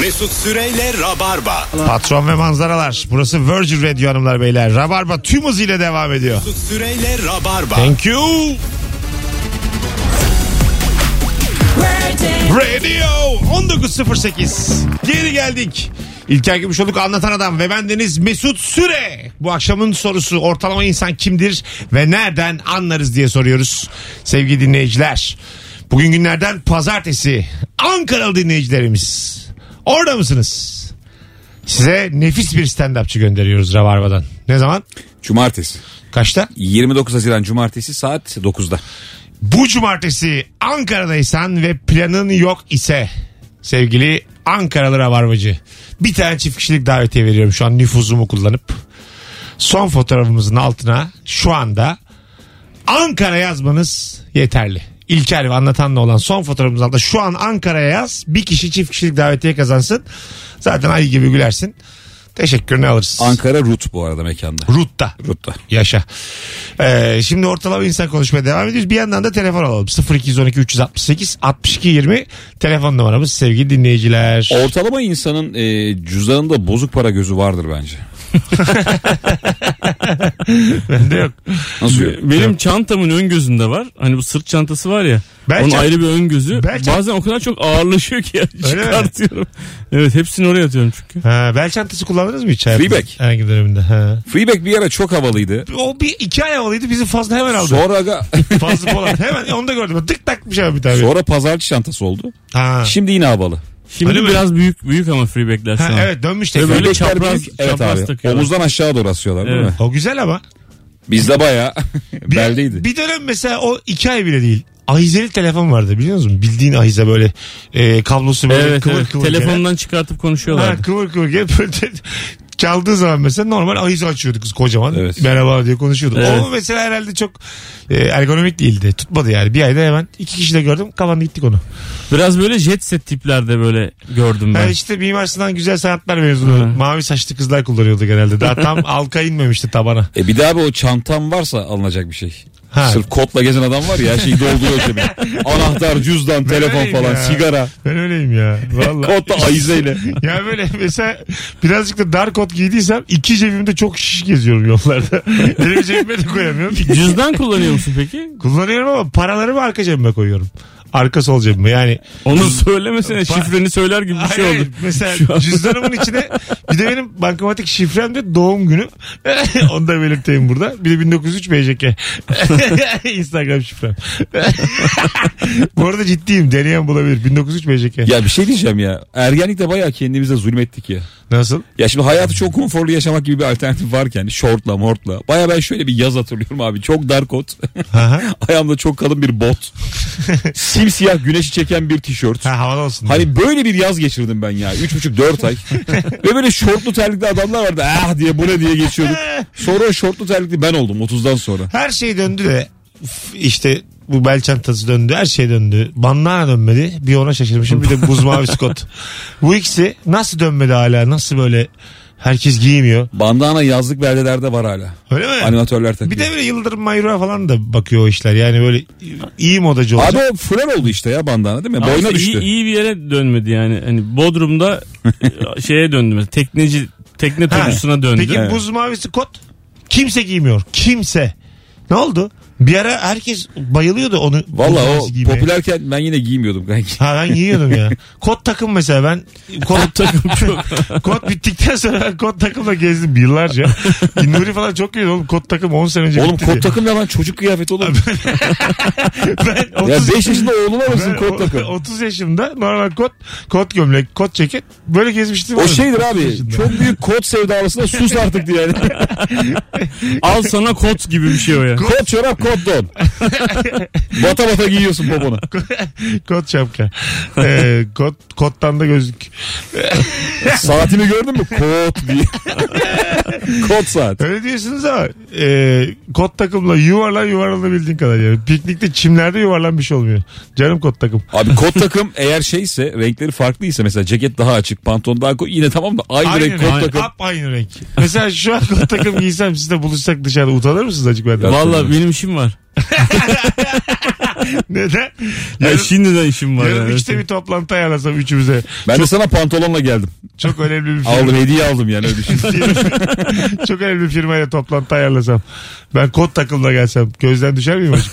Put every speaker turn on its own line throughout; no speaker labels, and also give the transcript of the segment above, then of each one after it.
Mesut Süreyle Rabarba.
Patron ve manzaralar. Burası Virgin Radio hanımlar beyler. Rabarba tüm hızıyla devam ediyor.
Mesut Süreyle Rabarba.
Thank you. Radio 19.08. Geri geldik. İlker Gümüşoluk anlatan adam ve bendeniz Mesut Süre. Bu akşamın sorusu ortalama insan kimdir ve nereden anlarız diye soruyoruz sevgili dinleyiciler. Bugün günlerden pazartesi Ankaralı dinleyicilerimiz. Orada mısınız? Size nefis bir stand-upçı gönderiyoruz Rabarba'dan. Ne zaman?
Cumartesi.
Kaçta?
29 Haziran Cumartesi saat 9'da.
Bu cumartesi Ankara'daysan ve planın yok ise sevgili Ankaralı Rabarbacı bir tane çift kişilik davetiye veriyorum şu an nüfuzumu kullanıp. Son fotoğrafımızın altına şu anda Ankara yazmanız yeterli. İlker ve anlatanla olan son fotoğrafımız altında şu an Ankara'ya yaz. Bir kişi çift kişilik davetiye kazansın. Zaten ay gibi gülersin. Teşekkürünü alırız.
Ankara Rut bu arada mekanda.
Rut'ta.
Rut'ta.
Yaşa. Ee, şimdi ortalama insan konuşmaya devam ediyoruz. Bir yandan da telefon alalım. 0212 368 62 20 telefon numaramız sevgili dinleyiciler.
Ortalama insanın e, cüzdanında bozuk para gözü vardır bence.
Bende yok.
Nasıl yok?
Benim çantamın ön gözünde var. Hani bu sırt çantası var ya.
Ben
onun
çant-
ayrı bir ön gözü.
Ben çant-
Bazen o kadar çok ağırlaşıyor ki ya,
Öyle mi?
çıkartıyorum. Evet hepsini oraya atıyorum çünkü.
Ha, bel çantası kullanırız mı hiç? hayatınızda?
Freeback.
Herhangi bir döneminde. Ha.
Freeback bir ara çok havalıydı.
O bir iki ay havalıydı. Bizi fazla hemen aldı.
Sonra ga-
Fazla Polat. Hemen onu da gördüm. Tık takmış abi bir tane.
sonra pazarcı çantası oldu.
Ha.
Şimdi yine havalı.
Şimdi
Öyle mi?
biraz büyük büyük ama freebackler şu
Ha,
an.
evet dönmüş
Ve
tekrar.
böyle
Freebackler
çapraz-
büyük, evet
çapraz
abi.
takıyorlar.
Omuzdan aşağı doğru asıyorlar değil
Evet.
mi?
O güzel ama.
Bizde bayağı
Bir,
beldeydi.
Bir dönem mesela o iki ay bile değil. Ahizeli telefon vardı biliyor musun? Bildiğin ahize böyle e, kablosu böyle
Evet,
kıvır
evet.
kıvır. gelen.
Telefondan çıkartıp konuşuyorlar.
Ha, kıvır kıvır gelip böyle çaldığı zaman mesela normal ahize açıyordu kız kocaman.
Evet.
Merhaba diye konuşuyordu.
Evet.
O mesela herhalde çok e, ergonomik değildi. Tutmadı yani. Bir ayda hemen iki kişi de gördüm. Kapandı gittik onu.
Biraz böyle jet set tiplerde böyle
Ben
gördüm ben.
işte Mimar Sinan Güzel Sanatlar mezunu.
Hı.
Mavi saçlı kızlar kullanıyordu genelde. Daha tam halka inmemişti tabana.
E bir daha bir o çantam varsa alınacak bir şey.
Ha.
Sırf kotla gezen adam var ya her şeyi dolduruyor cebine. Anahtar, cüzdan, telefon
öyleyim
falan,
ya.
sigara.
Ben öyleyim ya. Vallahi.
Kotla ayizeyle.
Ya böyle mesela birazcık da dar kot giydiysem iki cebimde çok şiş geziyorum yollarda. Elimi cebime de koyamıyorum.
Cüzdan kullanıyor musun peki?
Kullanıyorum ama paralarımı arka cebime koyuyorum. Arka sol cebime yani.
Onu söylemesene şifreni söyler gibi bir şey
Hayır,
oldu. Şu
Mesela
an.
cüzdanımın içine bir de benim bankamatik şifrem de doğum günü. Onu da belirteyim burada. Bir de 1903 BJK. Instagram şifrem. Bu arada ciddiyim. Deneyen bulabilir. 1903 BJK.
Ya bir şey diyeceğim ya. Ergenlikte bayağı kendimize zulmettik ya.
Nasıl?
Ya şimdi hayatı çok konforlu yaşamak gibi bir alternatif varken şortla mortla. Bayağı ben şöyle bir yaz hatırlıyorum abi. Çok dar kot.
Aha.
Ayağımda çok kalın bir bot. Simsiyah güneşi çeken bir tişört.
Ha, havalı olsun.
Hani böyle bir yaz geçirdim ben ya. Üç buçuk dört ay. Ve böyle şortlu terlikli adamlar vardı. Ah diye bu ne diye geçiyorduk. Sonra o şortlu terlikli ben oldum 30'dan sonra.
Her şey döndü de f- işte bu bel çantası döndü her şey döndü. Bandana dönmedi. Bir ona şaşırmışım bir de buz mavi skot. Bu ikisi nasıl dönmedi hala nasıl böyle herkes giymiyor.
Bandana yazlık beldelerde var hala.
Öyle mi?
Animatörler takıyor.
bir de böyle Yıldırım Mayur'a falan da bakıyor o işler. Yani böyle iyi modacı olacak.
Abi o flör oldu işte ya bandana değil mi?
Ama
Boyuna
işte
düştü.
Iyi, iyi bir yere dönmedi yani. Hani Bodrum'da e, şeye döndü. mesela. Tekneci tekne
Ha.
turcusuna döndü.
Peki buz mavisi kot kimse giymiyor. Kimse. Ne oldu? Bir ara herkes bayılıyordu onu. buz
Valla o
mavisi giymeye.
popülerken ben yine giymiyordum kanki.
Ha ben giyiyordum ya. Kot takım mesela ben kot takım çok. kot bittikten sonra ben kot takımla gezdim yıllarca. Nuri falan çok giyiyordu oğlum kot takım 10 sene önce
Oğlum
bitti
kot
diye.
takım ne lan çocuk kıyafeti oğlum.
Ben
ya
30
5 yaşında oğluna mısın
ben
kot takım?
30 yaşımda normal kot, kot gömlek, kot ceket böyle gezmiştim.
O
oğlum.
şeydir
30
abi
yaşında.
çok büyük kot sevdalısına sus artık diye. Yani.
Al sana kot gibi bir şey o ya.
kot çorap kot don. bata bata giyiyorsun popona.
Kot şapka. Ee, kot, kottan da gözlük.
Saatini gördün mü? Kot diye. kot saat.
Öyle diyorsunuz ama e, kot takımla yuvarlan yuvarlanabildiğin kadar yani. Piknikte çimlerde yuvarlan bir şey olmuyor. Canım kot takım.
Abi kot takım eğer şeyse renkleri farklıysa mesela ceket daha açık pantolon daha koyu yine tamam da aynı, renk kot
renk.
takım.
Hep aynı renk. Mesela şu an kot takım giysem sizle buluşsak dışarıda utanır mısınız acık benden?
Vallahi
Valla benim işim var.
Neden?
Ya
Yarın,
şimdiden işim var.
yarın
yani.
işte bir toplantı ayarlasam üçümüze.
Ben de sana pantolonla geldim.
Çok önemli bir firma.
Aldım hediye aldım yani öyle düşün.
çok önemli bir firmayla toplantı ayarlasam. Ben kot takımla gelsem gözden düşer miyim hocam?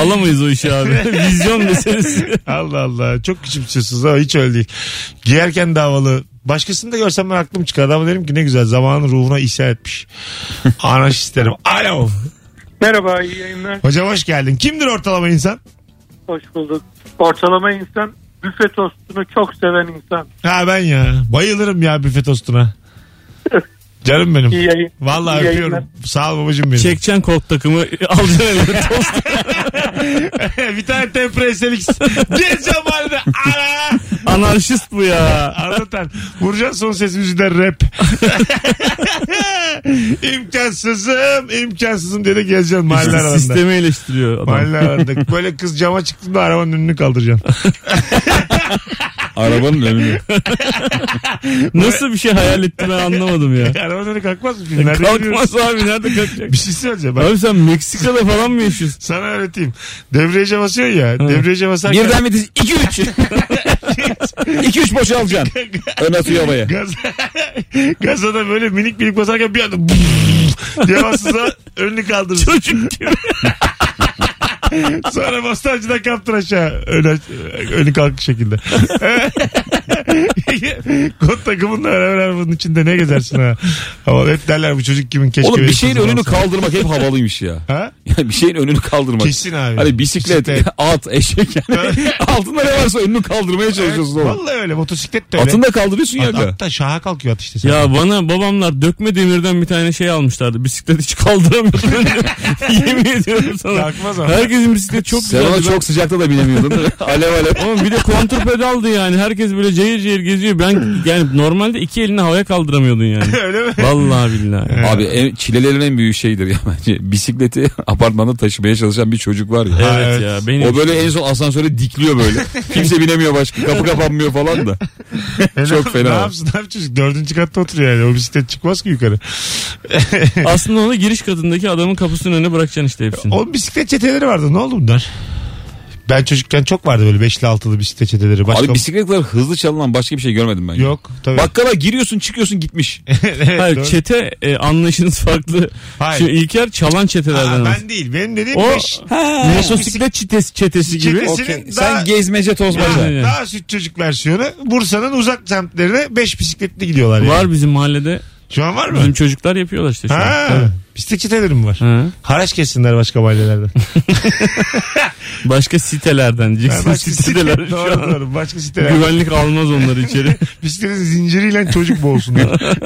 Alamayız o işi abi. Vizyon meselesi.
Allah Allah. Çok küçümsüyorsunuz ama hiç öyle değil. Giyerken davalı. Başkasını da görsem ben aklım çıkar. Ama derim ki ne güzel zamanın ruhuna isyan etmiş. Anarşist derim. Alo.
Merhaba, iyi yayınlar.
Hocam hoş geldin. Kimdir ortalama insan?
Hoş bulduk. Ortalama insan büfe tostunu çok seven insan.
Ha ben ya. Bayılırım ya büfe tostuna. Canım benim.
İyi yayın.
Vallahi
iyi
öpüyorum.
yayınlar.
Sağ ol babacığım benim.
Çekçen kot takımı alacaksın eline tost.
bir tane tempreselik. Gezeceğim halde. Ara.
Anarşist bu ya.
Anlatan. Vuracaksın son sesimizi de rap. imkansızım, imkansızım diye de gezeceksin mahalle
Sistemi
aralarında.
Sistemi eleştiriyor adam.
Mahalle aralarında. Böyle kız cama çıktığında arabanın önünü kaldıracaksın.
Arabanın önünü.
Nasıl bir şey hayal etti ben anlamadım ya.
arabanın önü kalkmaz mı filmlerde? görüyoruz?
Kalkmaz abi nerede kalkacak?
Bir şey söyleyeceğim. Bak,
Abi sen Meksika'da falan mı yaşıyorsun?
sana öğreteyim. Debriyaja basıyorsun ya. Debriyaja basarken
Birden bitiş. 2 3. 2 3 boşalacaksın. Ön atıyor havaya.
gaz, gaza da böyle minik minik basarken bir anda diye bastığında önünü kaldırır.
Çocuk gibi.
Sonra bostancıda kaptır aşağı. Öne, önü kalk şekilde. Kot takımınla beraber bunun içinde ne gezersin ha? Ama hep derler bu çocuk kimin keşke.
Oğlum bir
benim
şeyin
kızım
önünü
olsa.
kaldırmak hep havalıymış ya.
Ha?
Yani bir şeyin önünü kaldırmak.
Kesin abi.
Hani bisiklet,
Bisiklet.
at, eşek yani. altında ne varsa önünü kaldırmaya çalışıyorsun oğlum.
Vallahi öyle motosiklet de öyle.
Atını da kaldırıyorsun ya.
At-
aga.
Hatta şaha kalkıyor at işte. Sen.
Ya bana babamlar dökme demirden bir tane şey almışlardı. Bisiklet hiç kaldıramıyordum. Yemin ediyorum sana.
Kalkmaz ama.
Herkesin bisikleti çok
Sen ona
güzeldi.
çok sıcakta da binemiyordun. alev alev.
Oğlum bir de kontur pedaldı yani. Herkes böyle cayır cayır geziyor. Ben yani normalde iki elini havaya kaldıramıyordun yani.
Öyle mi?
Vallahi billahi.
Abi en, çilelerin en büyük şeyidir ya bence. Bisikleti apartmanda taşımaya çalışan bir çocuk var ya.
Evet
Evet.
ya benim.
O böyle en son asansöre dikliyor böyle. Kimse binemiyor başka. Kapı kapanmıyor falan da.
E,
çok
ne-
fena.
Ne yapsın abi çocuk? Dördüncü katta oturuyor yani. O bisiklet çıkmaz ki yukarı.
Aslında onu giriş katındaki adamın kapısının önüne bırakacaksın işte hepsini.
O bisiklet çeteleri vardı. Ne oldu bunlar? Ben çocukken çok vardı böyle beşli altılı bisiklet çeteleri. Başka...
Abi bisiklet kadar hızlı çalınan başka bir şey görmedim ben. ya.
Yok tabii.
Bakkala giriyorsun çıkıyorsun gitmiş.
Evet,
Hayır
doğru.
çete e, anlayışınız farklı.
Hayır.
Şu İlker çalan çetelerden.
Aa,
Aa,
ben değil. Benim dediğim
O
beş,
motosiklet çetesi, çetesi gibi.
Çetesi.
Okey.
Senin daha-
Sen gezmece tozmaca.
Yani.
Daha süt çocuk versiyonu. Bursa'nın uzak semtlerine 5 bisikletli gidiyorlar. Yani.
Var bizim mahallede.
Şu an var mı?
Bizim çocuklar yapıyorlar işte şu an.
Ha. Bisiklet çeteleri mi var?
Ha.
Haraç kessinler başka mahallelerden.
Başka sitelerden
Yani
diyeceksin.
başka
Siteler
site-
şu
doğru
an.
doğru. Başka siteler.
Güvenlik almaz onları içeri.
Bisikletin zinciriyle çocuk boğulsunlar.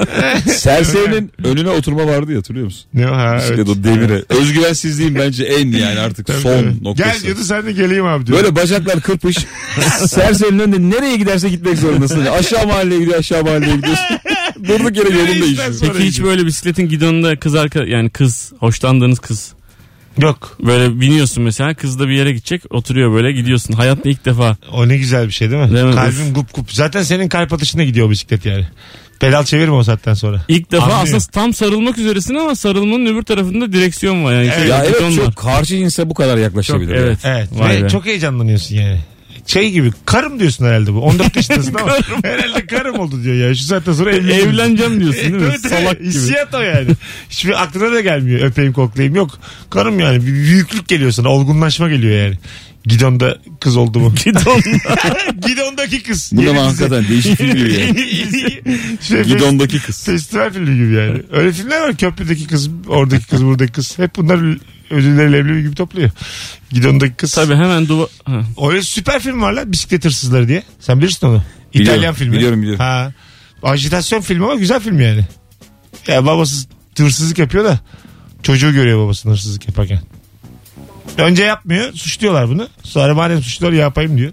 Serserinin önüne oturma vardı ya hatırlıyor musun?
ne o ha?
Bisiklet
Evet.
o devire. Özgüvensizliğin bence en yani artık
Tabii,
son
tabii.
noktası.
Gel diyordu sen de geleyim abi diyor.
Böyle bacaklar kırpış. Serserinin önünde nereye giderse gitmek zorundasın. Aşağı mahalleye gidiyor aşağı mahalleye gidiyorsun. Durduk yere yolun değişiyor.
Sonra
Peki hiç
gidiyor.
böyle bisikletin gidonunda kız arka yani kız hoşlandığınız kız
Yok.
böyle biniyorsun mesela kız da bir yere gidecek oturuyor böyle gidiyorsun. Hayatta ilk defa.
O ne güzel bir şey değil mi?
Değil mi?
Kalbim gup gup. Zaten senin kalp atışına gidiyor o bisiklet yani. Pedal çevirme o saatten sonra.
İlk defa
Anlıyor.
aslında tam sarılmak üzeresin ama sarılmanın öbür tarafında direksiyon var yani. şey,
Ya evet
gidon var.
çok karşı cinse bu kadar yaklaşabilir. ya.
evet.
Evet.
Vay
ve
be.
çok heyecanlanıyorsun yani. Şey gibi karım diyorsun herhalde bu. 14 yaşındasın ama herhalde karım oldu diyor ya. Şu saatten sonra evleneceğim.
Evleneceğim diyorsun değil mi?
Evet, evet.
Salak gibi.
Hissiyat o yani. Hiçbir aklına da gelmiyor öpeyim koklayayım yok. Karım yani bir büyüklük geliyor sana olgunlaşma geliyor yani. Gidon'da kız oldu mu?
Gidonda.
Gidon'daki kız.
Bu da
Yeni
lan
dizi.
hakikaten değişik bir video ya.
Şey,
Gidondaki kız.
Festival filmi gibi yani. Öyle filmler var. Köprüdeki kız, oradaki kız, buradaki kız. Hep bunlar ödülleri leblebi gibi topluyor. Gidondaki kız.
Tabii hemen duva... Ha.
Öyle süper film var lan bisiklet hırsızları diye. Sen bilirsin onu.
Biliyorum,
İtalyan filmi.
biliyorum, biliyorum.
Ha. Ajitasyon filmi ama güzel film yani. Ya babası hırsızlık yapıyor da çocuğu görüyor babasının hırsızlık yaparken. Önce yapmıyor. Suçluyorlar bunu. Sonra madem suçluyor yapayım diyor.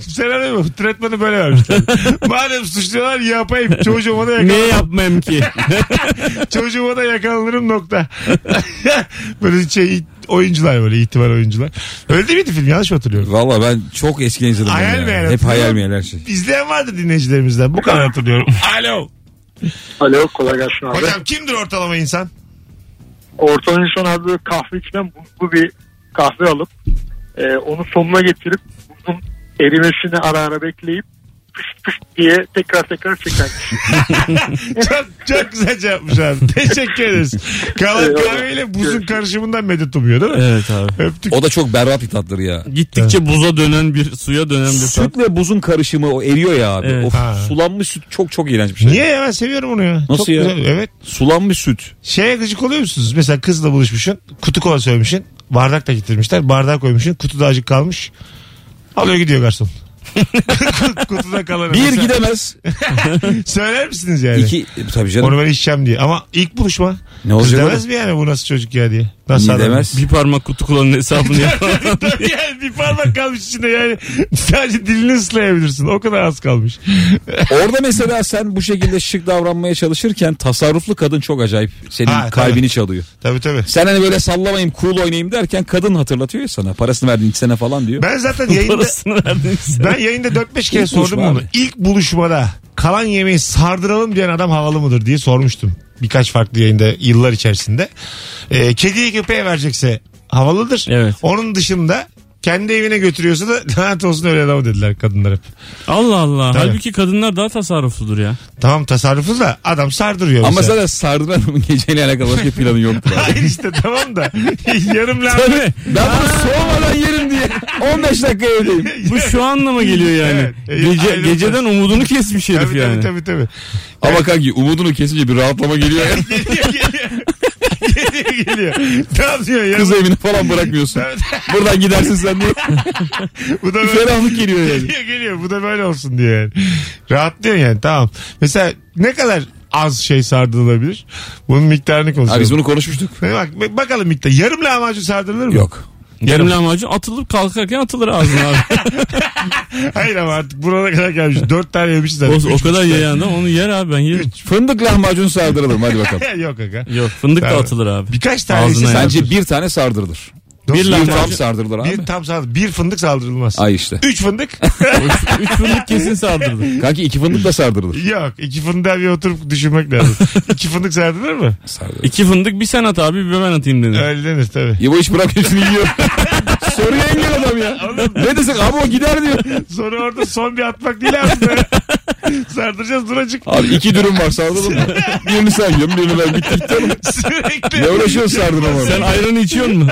Senaryo bu. Tretmanı böyle vermişler. madem suçluyorlar yapayım. Çocuğuma da
Ne
yakalanırım.
yapmam ki?
Çocuğuma da yakalanırım nokta. böyle şey oyuncular böyle itibar oyuncular. Öyle değil miydi film? Yanlış mı hatırlıyorum?
Valla ben çok eskiden izledim. ben
Hayal
ya.
meyal
Hep
hatırlıyorum.
hayal meyal her şey.
İzleyen vardı dinleyicilerimizden. Bu kadar hatırlıyorum. Alo.
Alo, kolay gelsin abi.
Hocam kimdir ortalama insan?
Ortalama insan abi böyle kahve içilen buzlu bir kahve alıp e, onu sonuna getirip buzun erimesini ara ara bekleyip pışt pışt diye tekrar tekrar çeken kişi.
çok, çok güzel cevapmış abi. Teşekkür ederiz. Kalan
Eyvallah.
kahveyle buzun
Görüşürüz.
karışımından medet umuyor değil mi?
Evet abi.
Öptük.
O da çok berbat bir tatlar ya.
Gittikçe buza dönen bir suya dönen bir tat.
Sütle buzun karışımı o eriyor ya abi.
Evet.
Of,
Ha.
sulanmış süt çok çok iğrenç bir şey.
Niye ya ben seviyorum onu ya.
Nasıl
Çok
ya?
güzel. Evet.
Sulanmış süt.
Şeye gıcık oluyor musunuz? Mesela kızla buluşmuşsun. Kutu kola söylemişsin. Bardak da getirmişler. Bardağı koymuşsun. Kutu da acık kalmış. Alıyor gidiyor garson. Kutuda kalanı.
Bir
Mesela
gidemez.
Söyler misiniz yani?
iki tabii canım.
Onu ben içeceğim diye. Ama ilk buluşma.
Ne
Kız
olacak
demez
orada?
mi yani bu nasıl çocuk ya diye? Nasıl
Niye
adam?
demez?
Bir parmak kutu kullanın hesabını yapar.
yani bir parmak kalmış içinde yani. Sadece dilini ıslayabilirsin. O kadar az kalmış.
Orada mesela sen bu şekilde şık davranmaya çalışırken tasarruflu kadın çok acayip senin
Ha, tabii.
kalbini çalıyor.
Tabii tabii.
Sen hani böyle sallamayayım cool oynayayım derken kadın hatırlatıyor ya sana parasını verdin içsene falan diyor.
Ben zaten yayında
Parasını verdin.
ben yayında 4-5 kere
İlk
sordum
buluşma
bunu.
abi.
İlk buluşmada kalan yemeği sardıralım diyen adam havalı mıdır diye sormuştum. Birkaç farklı yayında yıllar içerisinde. Ee, kediye köpeğe verecekse havalıdır.
Evet.
Onun dışında kendi evine götürüyorsa da lanet olsun öyle adamı dediler kadınlar hep.
Allah Allah.
Tabii.
Halbuki kadınlar daha tasarrufludur ya.
Tamam tasarrufuz da adam sardırıyor.
Ama
mesela.
zaten Sardın Hanım'ın geceyle alakalı başka planı yoktu. abi.
Hayır işte tamam da yarım lanet
Tabii.
ben bunu soğumadan yerim diye 15 dakika evdeyim.
Bu şu anlama geliyor yani.
Evet. E,
Gece,
Aynen.
geceden umudunu kesmiş herif
Tabii,
yani.
tabii tabii tabii.
Ama kanki umudunu kesince bir rahatlama geliyor. ya.
Geliyor geliyor. geliyor geliyor. Tamam diyor yarım-
Kız evini falan bırakmıyorsun.
Evet.
Buradan gidersin sen diye.
Bu da
Bir
böyle.
ferahlık geliyor yani.
geliyor geliyor. Bu da böyle olsun diye yani. Rahatlıyor yani tamam. Mesela ne kadar az şey sardırılabilir? Bunun miktarını
Abi
konuşalım.
biz bunu konuşmuştuk.
Bak, bakalım miktar. Yarım lahmacun sardırılır mı?
Yok.
Yarım lahmacun atılıp kalkarken atılır ağzına abi.
Hayır ama artık buraya kadar gelmiş. Dört tane yemişiz zaten.
o, o kadar yayanda onu yer abi ben yerim.
Fındık lahmacun sardıralım hadi bakalım.
Yok aga.
Yok fındık da
Tabii.
atılır abi.
Birkaç tanesi
Ağzına
sardırılır.
Bence bir tane sardırılır.
Dokuz-
Bir
lahmacun-
tam sardırılır abi.
Bir tam sardır. Bir fındık saldırılmaz.
Ay işte.
Üç fındık.
Üç- Üç fındık kesin saldırdı.
Kanki iki fındık da sardırılır.
Yok. iki fındığa bir oturup düşünmek lazım. iki fındık sardırılır mı?
Sardırılır.
İki fındık bir sen at abi bir ben atayım dedi.
Öyle denir tabii.
Ya bu iş bırak hepsini yiyor. Soruya engel adam ya. ne desek abi o gider diyor.
Sonra orada son bir atmak değil aslında. Sardıracağız duracık.
Abi iki dürüm var sardıralım mı? Birini sen yiyorsun birini ben bitti gitti oğlum.
Sürekli
Ne uğraşıyorsun sardırma
Sen
abi?
ayranı içiyor mu?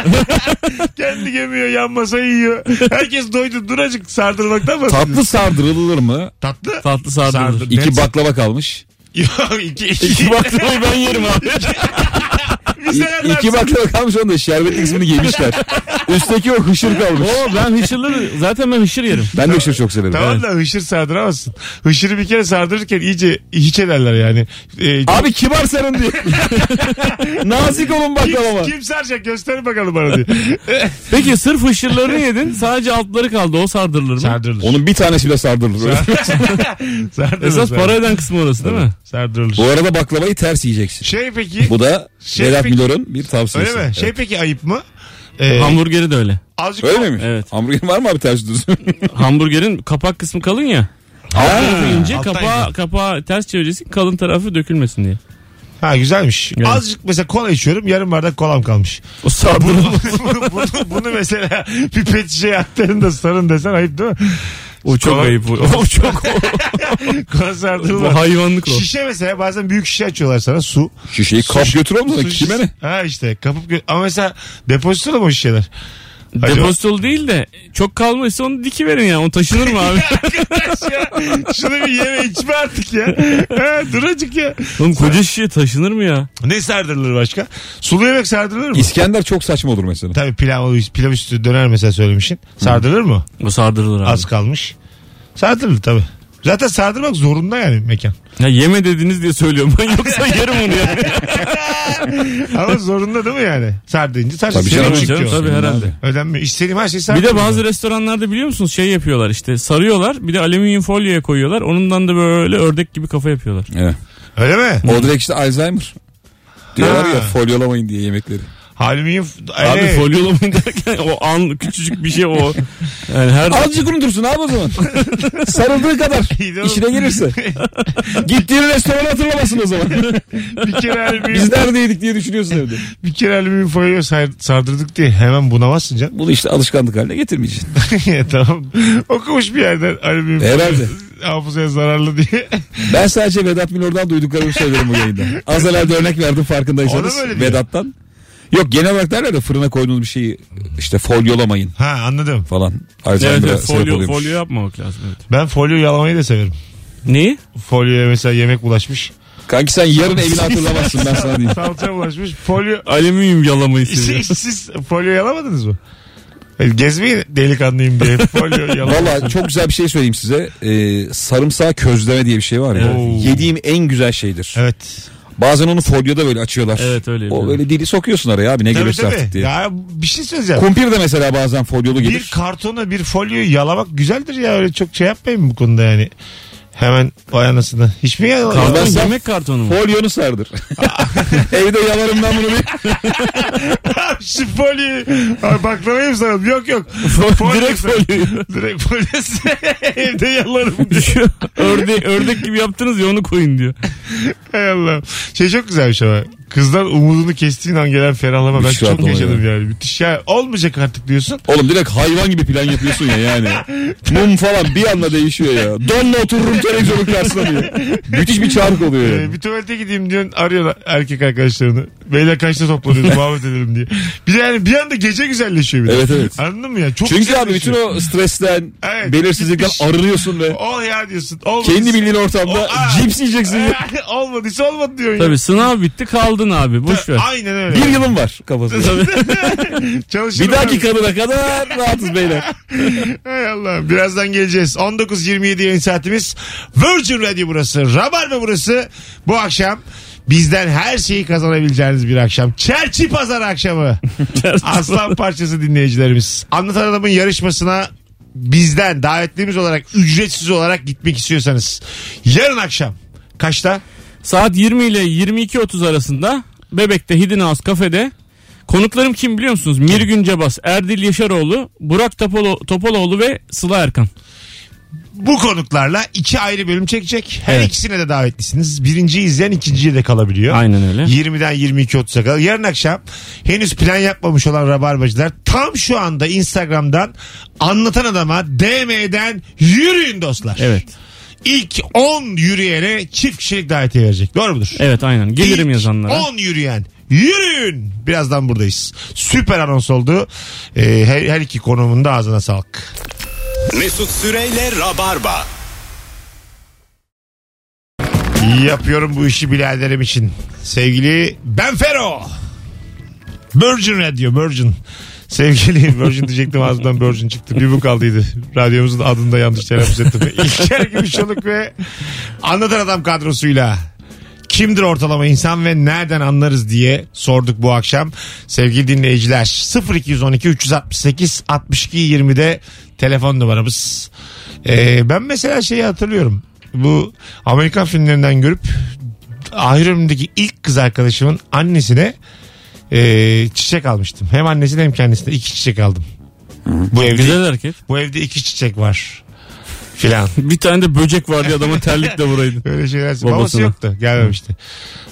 kendi gömüyor yan masayı yiyor. Herkes doydu duracık sardırmaktan bahsediyor.
Tatlı sardırılır mı?
Tatlı.
Tatlı sardırılır.
Sardır.
İki baklava kalmış.
Yok iki. iki.
İki baklavayı ben yerim abi.
Bir sefer
İ-
dersin.
iki baklava kalmış onda şerbetli kısmını giymişler. Üstteki o hışır kalmış.
Oo ben hışırlı zaten ben hışır yerim.
Ben de hışır çok severim.
Tamam da hışır sardıramazsın. Hışırı bir kere sardırırken iyice hiç ederler yani. Ee,
Abi kibar sarın diye. Nazik olun baklavama.
kim, kim saracak gösterin bakalım bana diye.
Peki sırf hışırlarını yedin sadece altları kaldı o sardırılır mı?
Sardırılır.
Onun bir tanesi bile sardırılır.
Sardırılır.
Esas para
sardırılır.
eden kısmı orası değil mi?
Sardırılır.
Bu arada baklavayı ters yiyeceksin.
Şey peki.
Bu da
Şey
Vedat
peki-
Milor'un bir tavsiyesi.
öyle mi? Şey
Evet.
peki ayıp mı? Ee,
Hamburgeri de öyle.
azıcık
Öyle miymiş?
Evet.
Hamburger var mı abi ters düz?
Hamburgerin kapak kısmı kalın ya.
Ha,
ince
alttan
kapağı, kapağı ters çevireceksin kalın tarafı dökülmesin diye.
Ha güzelmiş.
Evet.
Azıcık mesela kola içiyorum. Yarım bardak kolam kalmış.
O
Bunu,
sardırılır.
bunu, bunu, bunu mesela bir pet şişeye aktarın da sarın desen ayıp değil mi?
o çok
Kola-
ayıp. O, o çok o.
Kola sardırılmaz.
Bu hayvanlık o.
Şişe mesela bazen büyük şişe açıyorlar sana su.
Şişeyi kap götür oğlum sana
Su
kime
şişesi-
ne?
Ha işte kapıp gö- ama mesela depozitolu mu o şişeler?
Depozitolu değil de çok kalmışsa onu diki verin ya. O taşınır mı abi?
Arkadaş ya şunu bir yeme içme artık ya. Ha, duracık ya.
Oğlum koca şişe taşınır mı ya?
Ne sardırılır başka? Sulu yemek sardırılır mı?
İskender çok saçma olur mesela.
Tabii pilav, pilav üstü döner mesela söylemişsin. Sardırılır mı?
O sardırılır abi.
Az kalmış. Sardırılır tabii. Zaten sardırmak zorunda yani mekan.
Ya yeme dediniz diye söylüyorum ben yoksa yerim onu yani.
Ama zorunda değil mi yani? Sardırınca sardır.
Tabii
Senin
canım,
için
canım,
diyor.
tabii herhalde.
Abi.
Ödenmiyor. İstediğim her şey şeyi
Bir
sardırılır.
de bazı restoranlarda biliyor musunuz şey yapıyorlar işte sarıyorlar bir de alüminyum folyoya koyuyorlar. Onundan da böyle ördek gibi kafa yapıyorlar.
Evet.
Öyle mi?
Hmm. O direkt işte Alzheimer. Diyorlar
Ha.
ya folyolamayın diye yemekleri.
Alüminyum.
Abi
Ele-
folyolamayın derken o an küçücük bir şey o. Yani her
Azıcık unutursun abi o zaman. Sarıldığı kadar.
İyi de oğlum.
İşine gelirse. Gittiğin restoranı hatırlamasın o zaman.
bir kere alüminyum.
Biz neredeydik diye düşünüyorsun evde.
Bir kere alüminyum folyoya sar- sardırdık diye hemen bunamazsın canım.
Bunu işte alışkanlık haline getirmeyeceksin.
Ya tamam. Okumuş bir yerden alüminyum folyo
Herhalde.
hafızaya zararlı diye.
Ben sadece Vedat Milor'dan duyduklarımı söylerim bu yayında. Az evvel de örnek verdim farkındaysanız.
O da böyle diyor.
Vedat'tan. Yok genel olarak derler de fırına koyduğunuz bir şeyi işte folyolamayın
ha anladım.
falan.
Evet,
Alzheimer'a
evet,
sebep
folyo,
oluyormuş.
folyo yapmamak lazım. Evet.
Ben folyo yalamayı da severim.
Neyi?
Folyoya mesela yemek bulaşmış.
Kanki sen yarın evini hatırlamazsın ben sana diyeyim.
Salça bulaşmış. Folyo...
Alüminyum yalamayı seviyor.
Siz, siz folyo yalamadınız mı? Gezmeyin delikanlıyım diye. Folyo yalamayı.
Valla çok güzel bir şey söyleyeyim size. Ee, sarımsağı közleme diye bir şey var ya.
Evet.
Yediğim en güzel şeydir.
Evet.
Bazen onu folyoda böyle açıyorlar.
Evet,
O
öyle yapıyorum.
böyle dili sokuyorsun araya abi ne
Tabii
geliyorsa
tabii.
artık diye.
Ya bir şey söyleyeceğim.
Kumpir de mesela bazen folyolu gelir.
Bir kartona bir folyoyu yalamak güzeldir ya. Öyle çok şey yapmayın bu konuda yani. Hemen vay anasını. Hiç mi yalamadın?
Karton,
Ondan-
yemek kartonu mu?
Folyonu sardır. Evde yalarım ben bunu bir.
Şu folyoyu. Ay, Baklavayı mı saralım? Yok yok.
Direkt
saralım.
folyo.
Direkt folyosu. Evde yalarım.
ördek, ördek gibi yaptınız ya onu koyun diyor.
Hay Allah. Şey çok güzelmiş ama. Kızdan umudunu kestiğin an gelen ferahlama ben
Müthiş
çok
rahatlama
yaşadım yani. Müthiş ya. Olmayacak artık diyorsun.
Oğlum direkt hayvan gibi plan yapıyorsun ya yani. Mum falan bir anda değişiyor ya. Donla otururum televizyonun karşısına diye. Müthiş bir çark oluyor yani.
Ee, bir tuvalete gideyim diyorsun arıyorlar erkek arkadaşlarını. Beyler kaçta toplanıyoruz muhabbet edelim diye. Bir de yani bir anda gece güzelleşiyor bir de.
Evet, evet.
Anladın mı ya? Çok
Çünkü abi bütün
güzelleşiyor.
o stresten,
şey Evet, gitmiş.
belirsizlikten arınıyorsun ve
Ol ya diyorsun. Olmadı.
kendi bildiğin ortamda
O- Aa.
cips yiyeceksin. ya.
Olmadıysa olmadı diyorsun. ya.
Tabii sınav bitti kaldın abi boş ver.
Aynen öyle.
Bir yılın var kafasında.
Çalışırım
bir dahaki kadına kadar rahatız beyler.
Hay Allah. Birazdan geleceğiz. 19.27 yayın saatimiz. Virgin Radio burası. Rabarba burası. Bu akşam bizden her şeyi kazanabileceğiniz bir akşam. Çerçi pazar akşamı. Aslan parçası dinleyicilerimiz. Anlatan adamın yarışmasına bizden davetlimiz olarak ücretsiz olarak gitmek istiyorsanız yarın akşam kaçta?
Saat 20 ile 22.30 arasında Bebek'te Hidden House kafede konuklarım kim biliyor musunuz? Mirgün Cebas, Erdil Yaşaroğlu, Burak Topolo, Topaloğlu ve Sıla Erkan.
Bu konuklarla iki ayrı bölüm çekecek. Her
Evet.
ikisine de davetlisiniz. Birinciyi izleyen ikinciye de kalabiliyor.
Aynen öyle.
20'den 22.30'a kadar. Yarın akşam henüz plan yapmamış olan Rabarbacılar tam şu anda Instagram'dan anlatan adama DM'den yürüyün dostlar.
Evet.
İlk 10 yürüyene çift kişilik davetiye verecek. Doğru mudur?
Evet aynen. Gelirim
İlk
yazanlara.
10 yürüyen. Yürüyün. Birazdan buradayız. Süper anons oldu. Ee, her, her iki konumun da ağzına sağlık.
Mesut Süreyle Rabarba.
Yapıyorum bu işi biraderim için. Sevgili Ben Fero. Virgin Radio, Virgin. Sevgili Virgin diyecektim ağzımdan Virgin çıktı. Bir bu kaldıydı. Radyomuzun adını da yanlış telaffuz ettim. İlker Gümüşoluk ve Anlatan Adam kadrosuyla kimdir ortalama insan ve nereden anlarız diye sorduk bu akşam. Sevgili dinleyiciler 0212 368 62 20'de telefon numaramız. Ee, ben mesela şeyi hatırlıyorum. Bu Amerikan filmlerinden görüp Iron'daki ilk kız arkadaşımın annesine e, çiçek almıştım. Hem annesine hem kendisine iki çiçek aldım. Bu evde
Güzel hareket.
bu evde iki çiçek var filan.
Bir tane de böcek vardı adama terlikle vuraydı.
Öyle şeyler.
Babasına.
Babası yoktu. Gelmemişti.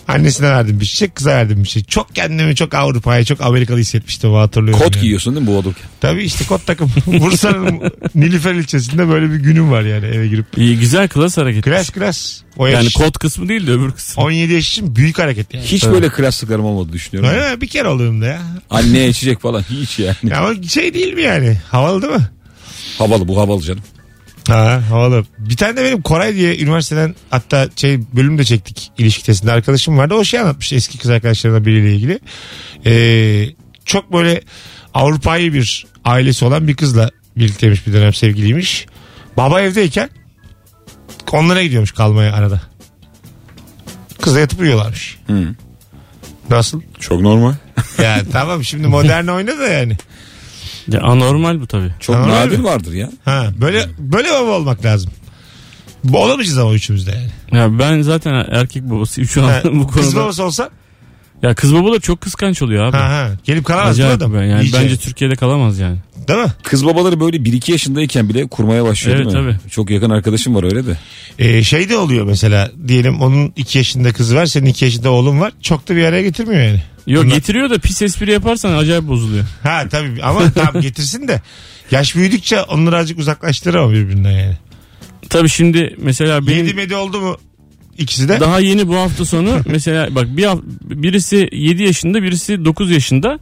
Annesine verdim bir çiçek, kıza verdim bir şey. Çok kendimi çok Avrupa'ya, çok Amerikalı hissetmiştim. Hatırlıyorum.
Kot
yani.
giyiyorsun değil mi bu olurken?
Tabii işte kot takım. Bursa'nın Nilüfer ilçesinde böyle bir günüm var yani eve girip.
İyi güzel klas hareket.
Klas klas. O
Yani
yaş.
kod kısmı değil de öbür kısmı.
17 yaş için büyük hareket yani.
Hiç böyle klaslıklarım olmadı düşünüyorum.
Öyle mi? Bir kere olurum da ya.
Anneye içecek falan hiç yani.
Ya Ama şey değil mi yani? Havalı değil mi?
Havalı bu havalı canım.
Ha havalı. Bir tane de benim Koray diye üniversiteden hatta şey bölüm de çektik ilişki testinde arkadaşım vardı. O şey anlatmış eski kız arkadaşlarına biriyle ilgili. Ee, çok böyle Avrupa'yı bir ailesi olan bir kızla birlikteymiş bir dönem sevgiliymiş. Baba evdeyken onlara gidiyormuş kalmaya arada. Kızla yatıp uyuyorlarmış. Nasıl?
Çok normal.
Yani tamam şimdi modern oyna da yani.
Ya, anormal bu tabii.
Çok
Normal
nadir
mi?
vardır ya.
Ha, böyle böyle baba olmak lazım. Bu Olamayacağız ama üçümüz de yani.
Ya ben zaten erkek babası şu an
Ha,
bu
Kız
konuda.
babası olsa
Ya kız baba da çok kıskanç oluyor abi.
Ha, ha. Gelip kalamaz değil mi
Acayip
adam?
ben yani.
İyice.
Bence Türkiye'de kalamaz yani.
şey. Değil mi?
Kız babaları böyle 1-2 yaşındayken bile kurmaya başlıyor
Evet,
değil mi? Çok yakın arkadaşım var öyle de.
Ee, şey de oluyor mesela diyelim onun 2 yaşında kızı var senin 2 yaşında oğlun var çok da bir araya getirmiyor yani.
Yok
Bunlar-
getiriyor da pis espri yaparsan acayip bozuluyor.
Ha tabii ama tamam getirsin de yaş büyüdükçe onları azıcık uzaklaştırır ama birbirinden yani.
Tabii şimdi mesela benim
Yedi medi oldu mu ikisi de?
daha yeni bu hafta sonu mesela bak bir haf- birisi 7 yaşında birisi 9 yaşında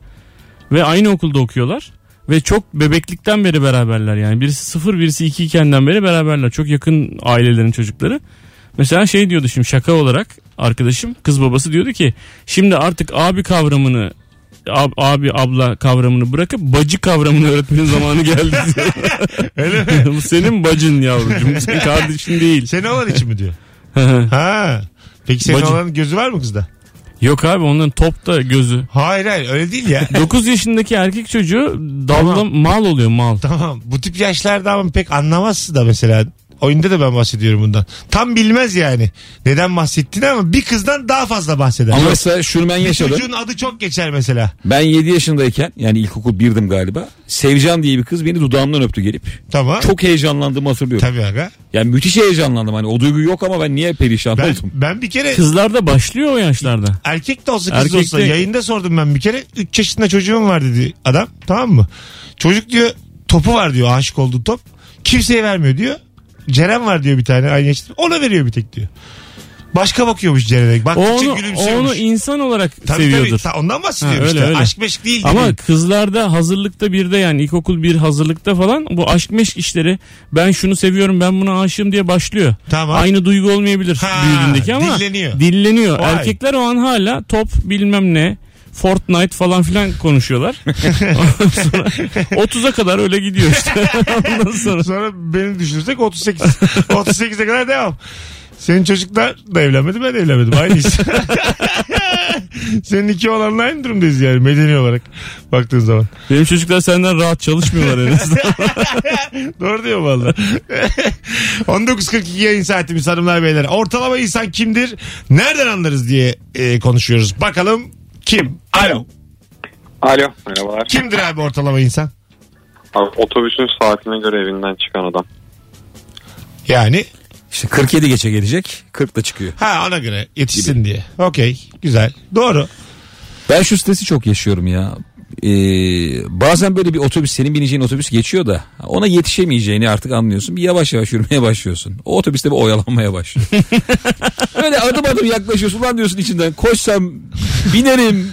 ve aynı okulda okuyorlar. Ve çok bebeklikten beri beraberler yani. Birisi 0 birisi 2 ikenden beri beraberler. Çok yakın ailelerin çocukları. Mesela şey diyordu şimdi şaka olarak arkadaşım kız babası diyordu ki şimdi artık abi kavramını ab- abi abla kavramını bırakıp bacı kavramını öğretmenin zamanı geldi diyor.
Öyle mi? Şey-
Bu senin bacın yavrucuğum. bu Senin kardeşin değil.
Senin olan için mi diyor? Ha. Peki senin
Bacı.
oğlanın gözü var mı kızda?
Yok abi onların topta gözü.
Hayır hayır öyle değil ya.
9 yaşındaki erkek çocuğu dalla mal oluyor mal.
tamam bu tip yaşlarda ama pek anlamazsın da mesela. Oyunda da ben bahsediyorum bundan. Tam bilmez yani. Neden bahsettiğini ama bir kızdan daha fazla bahseder.
Ama mesela şunu ben yaşadım.
Çocuğun adı çok geçer mesela.
Ben 7 yaşındayken yani ilkokul 1'dim galiba. Sevcan diye bir kız beni dudağımdan öptü gelip.
Tamam.
Çok heyecanlandığımı hatırlıyorum.
Tabii aga.
Yani müthiş heyecanlandım. Hani o duygu yok ama ben niye perişan
Ben,
oldum?
ben bir kere
Kızlarda başlıyor o yaşlarda.
erkek de olsa kız da
Erkek
olsa
de-
yayında sordum ben bir kere 3 yaşında çocuğum var dedi adam tamam mı? Çocuk diyor topu var diyor aşık olduğu top. Kimseye vermiyor diyor. Ceren var diyor bir tane aynı yaşta. Ona veriyor bir tek diyor. Başka bakıyormuş Ceren'e. Bak
O onu, o
gülümsüyormuş.
onu insan olarak
Tabii,
seviyordur.
tabii. Ta- ondan bahsediyorum
Ha, öyle,
işte.
öyle.
Aşk meşk değil.
Ama
dedi.
kızlarda hazırlıkta bir de yani ilkokul bir hazırlıkta falan bu aşk meşk işleri ben şunu seviyorum ben buna aşığım diye başlıyor.
Tamam.
Aynı duygu olmayabilir
Ha,
büyüdüğündeki ama
dilleniyor.
dilleniyor.
Vay.
Erkekler o an hala top bilmem ne Fortnite falan filan konuşuyorlar. Ondan sonra 30'a kadar öyle gidiyor işte. Ondan sonra
Sonra beni düşünürsek 38. 38'e kadar devam. Senin çocuklar da evlenmedi ben de evlenmedim. Aynıyız. Senin iki olanla aynı durumdayız yani medeni olarak baktığın zaman.
Benim çocuklar senden rahat çalışmıyorlar en azından.
Doğru diyor valla. 19.42 yayın saatimiz hanımlar beyler. Ortalama insan kimdir? Nereden anlarız diye e, konuşuyoruz. Bakalım kim? Alo.
Alo merhabalar.
Kimdir abi ortalama insan?
Abi, otobüsün saatine göre evinden çıkan adam.
Yani
İşte 47 geçe gelecek. 40 da çıkıyor.
ha ona göre yetişsin diye. Okey güzel. Doğru.
Ben şu stresi çok yaşıyorum ya. Ee, bazen böyle bir otobüs senin bineceğin otobüs geçiyor da ona yetişemeyeceğini artık anlıyorsun. Bir yavaş yavaş yürümeye başlıyorsun. O otobüste bir oyalanmaya başlıyor. Öyle adım adım yaklaşıyorsun lan diyorsun içinden koşsam binerim.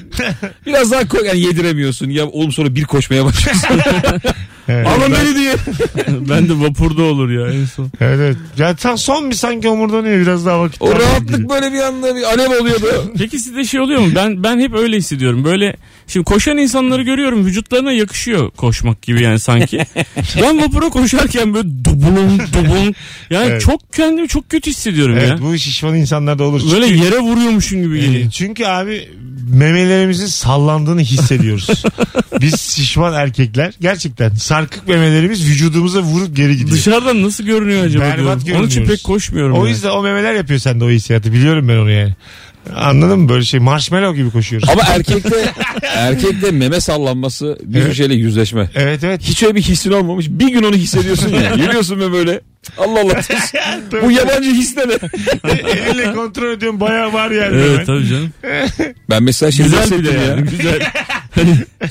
Biraz daha koy yani yediremiyorsun. Ya oğlum sonra bir koşmaya başlıyorsun.
Evet.
Alın beni diye.
ben de vapurda olur ya en son.
Evet, evet. Ya tam son bir sanki omurdanıyor biraz daha vakit.
O
kalmadı
rahatlık
gibi.
böyle bir anda bir alev oluyor böyle.
Peki sizde şey oluyor mu? Ben ben hep öyle hissediyorum. Böyle şimdi koşan insanları görüyorum vücutlarına yakışıyor koşmak gibi yani sanki. ben vapura koşarken böyle dubulum dubulum. Yani
Evet.
çok kendimi çok kötü hissediyorum
Evet
ya.
bu şişman insanlarda olur.
Böyle yere vuruyormuşum gibi geliyor.
Ee, Çünkü abi memelerimizin sallandığını hissediyoruz. Biz şişman erkekler gerçekten sarkık memelerimiz vücudumuza vurup geri gidiyor.
Dışarıdan nasıl görünüyor acaba
Berbat
diyorum. Onun için
görünüyoruz.
pek koşmuyorum.
o
yani.
yüzden o memeler yapıyor sende o hissiyatı. Biliyorum ben onu yani. Anladın mı? Böyle şey marshmallow gibi koşuyoruz.
Ama erkekte erkekte meme sallanması bir
Evet.
şeyle yüzleşme.
Evet evet.
Hiç öyle bir hissin olmamış. Bir gün onu hissediyorsun ya. Yürüyorsun ve böyle. Allah Allah. Bu yabancı his ne?
Elinle kontrol ediyorum bayağı var yani.
Evet
hemen.
tabii canım.
Ben mesela şimdi
Güzel bir de
hissettim
yani.
ya.
Güzel.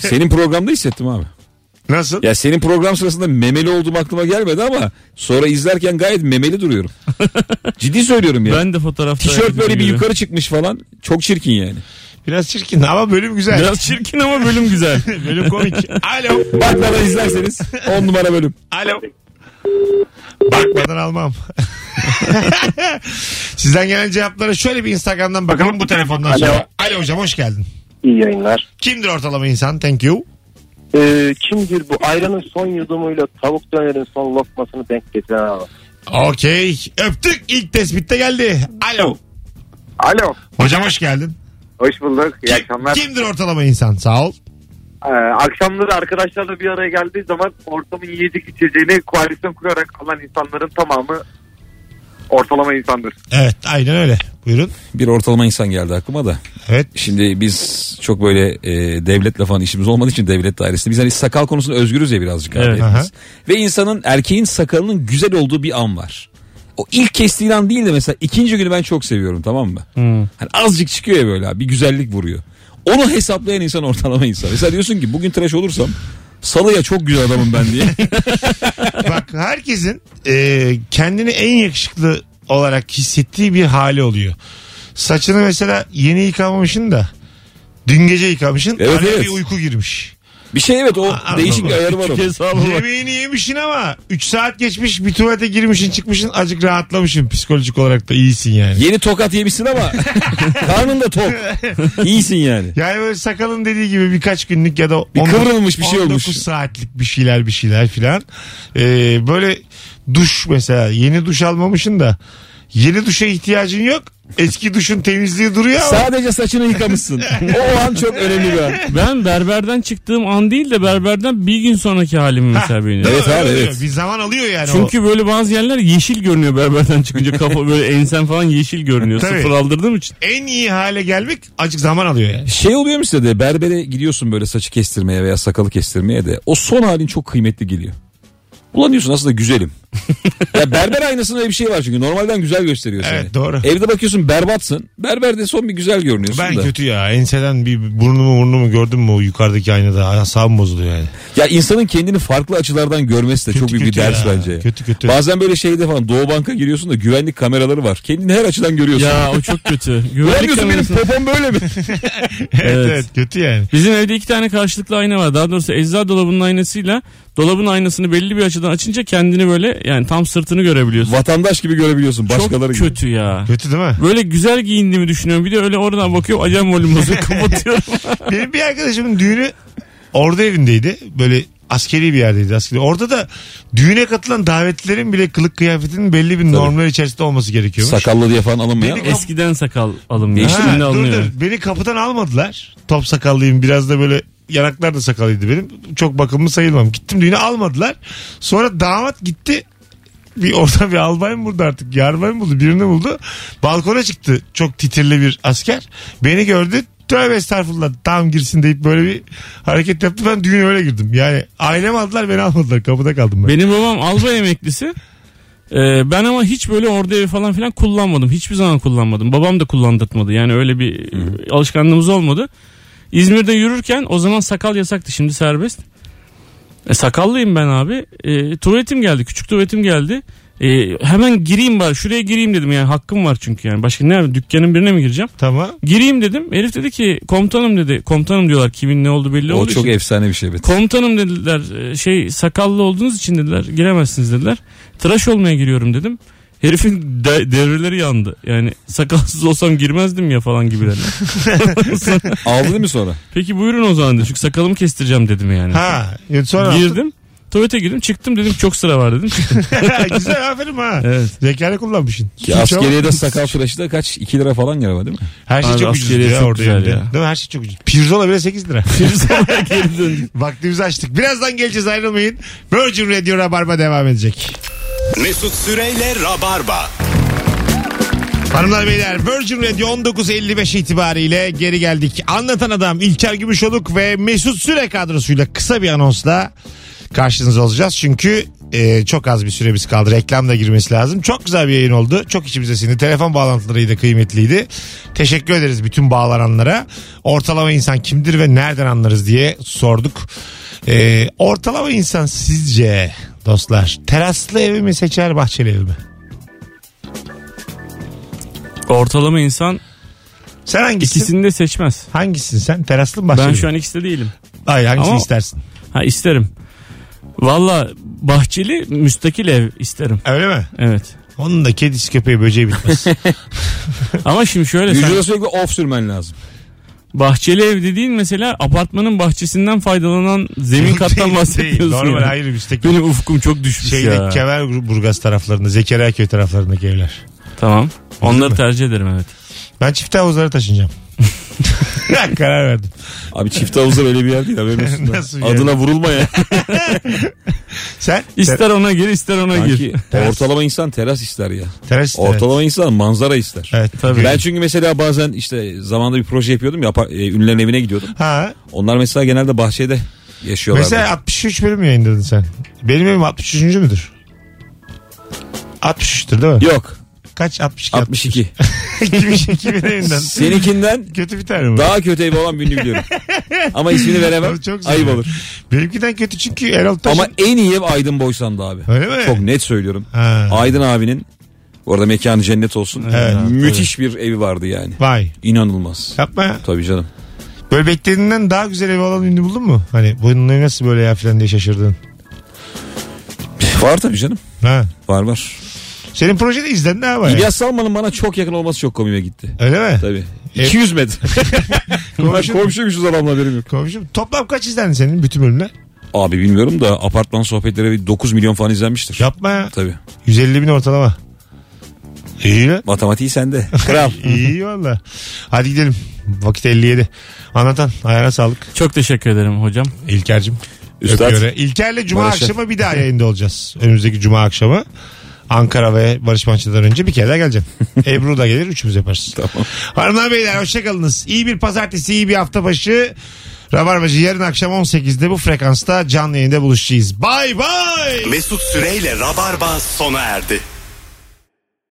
Senin programda hissettim abi.
Nasıl?
Ya senin program sırasında memeli olduğum aklıma gelmedi ama sonra izlerken gayet memeli duruyorum. Ciddi söylüyorum ya.
Ben de fotoğrafta.
Tişört böyle bir
gibi.
yukarı çıkmış falan. Çok çirkin yani.
Biraz çirkin ama bölüm güzel.
Biraz çirkin ama bölüm güzel.
Bölüm komik. Alo.
Bakmadan izlerseniz 10 numara bölüm.
Alo. Bakmadan almam. Sizden gelen cevaplara şöyle bir Instagram'dan bakalım bu telefondan sonra. Alo hocam hoş geldin.
İyi yayınlar.
Kimdir ortalama insan? Thank you.
Ee, kimdir bu? Ayranın son yudumuyla tavuk dönerin son lokmasını denk getiren adam.
Okey. Öptük. İlk tespitte geldi. Alo.
Alo.
Hocam hoş geldin.
Hoş bulduk. İyi
Kim-
akşamlar.
Kimdir ortalama insan? Sağ ol.
Ee, akşamları arkadaşlarla bir araya geldiği zaman ortamın yiyecek içeceğini koalisyon kurarak alan insanların tamamı ortalama insandır.
Evet aynen öyle. Buyurun.
Bir ortalama insan geldi aklıma da.
Evet.
Şimdi biz çok böyle e, devletle falan işimiz olmadığı için devlet dairesinde biz hani sakal konusunda özgürüz ya birazcık abi
Evet.
hepimiz.
Aha.
Ve insanın erkeğin sakalının güzel olduğu bir an var. O ilk kestiği an değil de mesela ikinci günü ben çok seviyorum tamam mı?
Hmm.
Hani azıcık çıkıyor ya böyle abi bir güzellik vuruyor. Onu hesaplayan insan ortalama insan. Mesela diyorsun ki bugün tıraş olursam salıya çok güzel adamım ben diye.
Bak herkesin e, kendini en yakışıklı olarak hissettiği bir hali oluyor. Saçını mesela yeni yıkamamışsın da dün gece yıkamışsın.
Evet,
araya
evet.
bir uyku girmiş.
bir şey evet o
Aa,
değişik bir
anladım.
ayarı var onun.
Hesabı bak.
Yemeğini yemişsin ama 3 saat geçmiş bir tuvalete girmişsin çıkmışsın acık rahatlamışsın psikolojik olarak da iyisin yani.
Yeni tokat yemişsin ama karnın da tok. İyisin yani.
Yani böyle sakalın dediği gibi birkaç günlük ya da
Bir kıvrılmış bir şey olmuş.
19 saatlik bir şeyler bir şeyler filan. Ee, böyle duş mesela yeni duş almamışsın da yeni duşa ihtiyacın yok. Eski duşun temizliği duruyor ama
Sadece saçını yıkamışsın. O an çok önemli bir an.
Ben berberden çıktığım an değil de berberden bir gün sonraki halimi mesela beğeniyorum.
Evet abi
Öyle
evet.
bir zaman alıyor yani. Çünkü
Çünkü böyle bazı yerler yeşil görünüyor berberden çıkınca kafa böyle ensen falan yeşil görünüyor.
Tabii.
Sıfır aldırdığım için.
en iyi hale gelmek acık zaman alıyor yani.
Şey oluyor mu size de berbere gidiyorsun böyle saçı kestirmeye veya sakalı kestirmeye de o son halin çok kıymetli geliyor. Ulan diyorsun aslında güzelim. ya berber aynasında öyle bir şey var çünkü normalden güzel gösteriyor seni.
Evet, doğru.
Evde bakıyorsun berbatsın. Berberde son bir güzel görünüyorsun
Ben
da.
kötü ya. Enseden bir burnumu burnumu gördün mü o yukarıdaki aynada asabım bozuluyor yani.
Ya insanın kendini farklı açılardan görmesi de
Kötü
çok büyük bir
kötü
ders
ya.
bence.
Kötü kötü.
Bazen böyle şeyde falan Doğu Bank'a giriyorsun da güvenlik kameraları var. Kendini her açıdan görüyorsun.
Ya o çok kötü.
Ulan
Güvenlik
diyorsun benim
kamerası.
popom böyle mi?
evet.
Evet.
evet kötü yani.
Bizim evde iki tane karşılıklı ayna var. Daha doğrusu eczacı dolabının aynasıyla dolabın aynasını belli bir açıdan açınca kendini böyle yani tam sırtını görebiliyorsun.
Vatandaş gibi görebiliyorsun başkaları
çok
gibi.
kötü ya.
Kötü değil mi?
Böyle güzel giyindiğimi düşünüyorum. Bir de öyle oradan bakıyorum acayip volüm bozuyor. Kapatıyorum.
Benim bir arkadaşımın düğünü orada evindeydi. Böyle askeri bir yerdeydi askeri. Orada da düğüne katılan davetlilerin bile kılık kıyafetinin belli bir normlar içerisinde olması gerekiyormuş.
Sakallı diye falan alınmayan.
Beni-
Eskiden sakal alım.
Ha,
ya. Şimdi
dur
alınıyor.
dur. Beni kapıdan almadılar. Top sakallıyım. Biraz da böyle yanaklar da sakallıydı benim. Çok bakımlı sayılmam. Gittim düğüne almadılar. Sonra damat gitti. Bir orada bir albay mı buldu artık? Yarbay mı buldu? Birini buldu. Balkona çıktı. Çok titirli bir asker. Beni gördü. Tövbe estağfurullah tam girsin deyip böyle bir hareket yaptı. Ben düğüne öyle girdim. Yani ailem aldılar beni almadılar. Kapıda kaldım ben.
Benim babam albay emeklisi. Ee, ben ama hiç böyle orada evi falan filan kullanmadım. Hiçbir zaman kullanmadım. Babam da kullandırtmadı. Yani öyle bir e, alışkanlığımız olmadı. İzmir'de yürürken o zaman sakal yasaktı. Şimdi serbest. E, sakallıyım ben abi. E, tuvaletim geldi. Küçük tuvaletim geldi. E, hemen gireyim bari. Şuraya gireyim dedim. Yani hakkım var çünkü yani. Başka ne yapayım? Dükkanın birine mi gireceğim?
Tamam.
Gireyim dedim. Herif dedi ki komutanım dedi. Komutanım diyorlar. Kimin ne oldu belli
O
olduğu
çok
için.
efsane bir şey. Evet.
Komutanım dediler e, şey sakallı olduğunuz için dediler giremezsiniz dediler. Tıraş olmaya giriyorum dedim. Herifin de- devreleri yandı. Yani sakalsız olsam girmezdim ya falan gibilerine.
Aldı değil mi sonra?
Peki buyurun o zaman dedi. Çünkü sakalımı kestireceğim dedim yani.
Ha. e, Sonra
Girdim. Tuvalete girdim çıktım dedim çok sıra var dedim. Çıktım.
Güzel aferin ha.
Evet.
Zekanı kullanmışsın.
Ki
Suç
askeriyede
ama-
sakal tıraşı da kaç? 2 lira falan galiba değil mi?
Her şey
Abi
çok ucuz
askeriye
ya
çok
orada
güzel
yani.
ya.
Değil mi? Her şey çok ucuz. Pirzola bile 8 lira.
Sonra geri döndüm.
Vaktimizi açtık. Birazdan geleceğiz ayrılmayın. Virgin Radio Rabarba devam edecek.
Mesut Süreyle Rabarba.
Hanımlar beyler Virgin Radio 19.55 itibariyle geri geldik. Anlatan adam İlker Gümüşoluk ve Mesut Süre kadrosuyla kısa bir anonsla karşınızda olacağız. Çünkü e, çok az bir süremiz kaldı. Reklam da girmesi lazım. Çok güzel bir yayın oldu. Çok içimize sindi. Telefon bağlantıları da kıymetliydi. Teşekkür ederiz bütün bağlananlara. Ortalama insan kimdir ve nereden anlarız diye sorduk. E, ortalama insan sizce dostlar teraslı evi mi seçer bahçeli evi mi?
Ortalama insan
Sen hangisi?
ikisini de seçmez.
Hangisin sen? Teraslı mı bahçeli
Ben
mi?
şu an ikisi de değilim.
Hayır hangisini
Ama-
istersin?
Ha isterim. Valla bahçeli müstakil ev isterim.
Öyle mi?
Evet.
Onun da kedisi köpeği böceği bitmez.
Ama şimdi şöyle sen-
Vücuda sürekli of sürmen lazım.
Bahçeli ev dediğin mesela apartmanın bahçesinden faydalanan zemin kattan
Değil, değil.
bahsediyorsun.
Normal
yani.
hayır müstakil.
Benim ufkum çok düşmüş
Şeyde
ya.
Kemerburgaz taraflarında, Zekeriyaköy taraflarındaki evler.
Tamam. Onları tercih ederim evet.
Ben çift havuzlara taşınacağım. Karar verdim.
Abi çift havuza böyle bir yer değil haberin olsun da.
Nasıl bir yer?
Adına vurulma ya.
Sen
İster ona gir ister ona
Sanki
gir.
ortalama insan teras ister ya.
Teras ister,
Ortalama insan manzara ister.
Evet.
Tabii.
Ben çünkü mesela bazen işte zamanda bir proje yapıyordum ya apa- e, ünlülerin evine gidiyordum.
Ha.
Onlar mesela genelde bahçede yaşıyorlar.
Mesela 63 bölüm yayınladın sen. Benim evim 63. müdür? 63'tür değil mi?
Yok
Kaç? 62.
62.
Kimin, kimin evinden?
Seninkinden
Kötü bir tane mi?
daha kötü evi olan birini biliyorum. Ama ismini veremem.
Abi çok
Ayıp
zor.
olur.
Benimkiden kötü çünkü Erol Taş.
Ama en iyi ev Aydın Boysan'dı abi.
Öyle mi?
Çok net söylüyorum.
Ha.
Aydın abinin bu arada mekanı cennet olsun.
Evet.
Müthiş bir evi vardı yani.
Vay.
İnanılmaz.
Yapma ya.
Tabii canım.
Böyle beklediğinden daha güzel evi olan ünlü buldun mu? Hani bunun nasıl böyle ya filan diye şaşırdın.
Var tabii canım.
Ha.
Var var.
Senin projede izlendi ha bayağı.
İlyas Salman'ın bana çok yakın olması çok komiğe gitti.
Öyle mi?
Tabii.
Evet.
200 metre. Bunlar
E- Komşu-
komşuymuşuz adamla benim yok.
Komşum toplam kaç izlendi senin bütün bölümler?
Abi bilmiyorum da apartman sohbetleri bir 9 milyon falan izlenmiştir.
Yapma ya.
Tabii.
150 bin ortalama. İyi lan.
Matematiği sende. Kral.
İyi valla. Hadi gidelim. Vakit 57. Anlatan ayağına sağlık.
Çok teşekkür ederim hocam.
İlker'cim.
Üstad.
Öpüyorum. İlker'le Cuma
Barış'a.
akşamı bir daha yayında olacağız. Önümüzdeki Cuma akşamı. Ankara ve Barış Manço'dan önce bir kere daha geleceğim. Ebru da gelir üçümüz yaparız. Tamam. Hanımlar beyler hoşçakalınız. İyi bir pazartesi, iyi bir hafta başı. Rabarbacı yarın akşam 18'de bu frekansta canlı yayında buluşacağız. Bay bay.
Mesut Süreyle Rabarba sona erdi.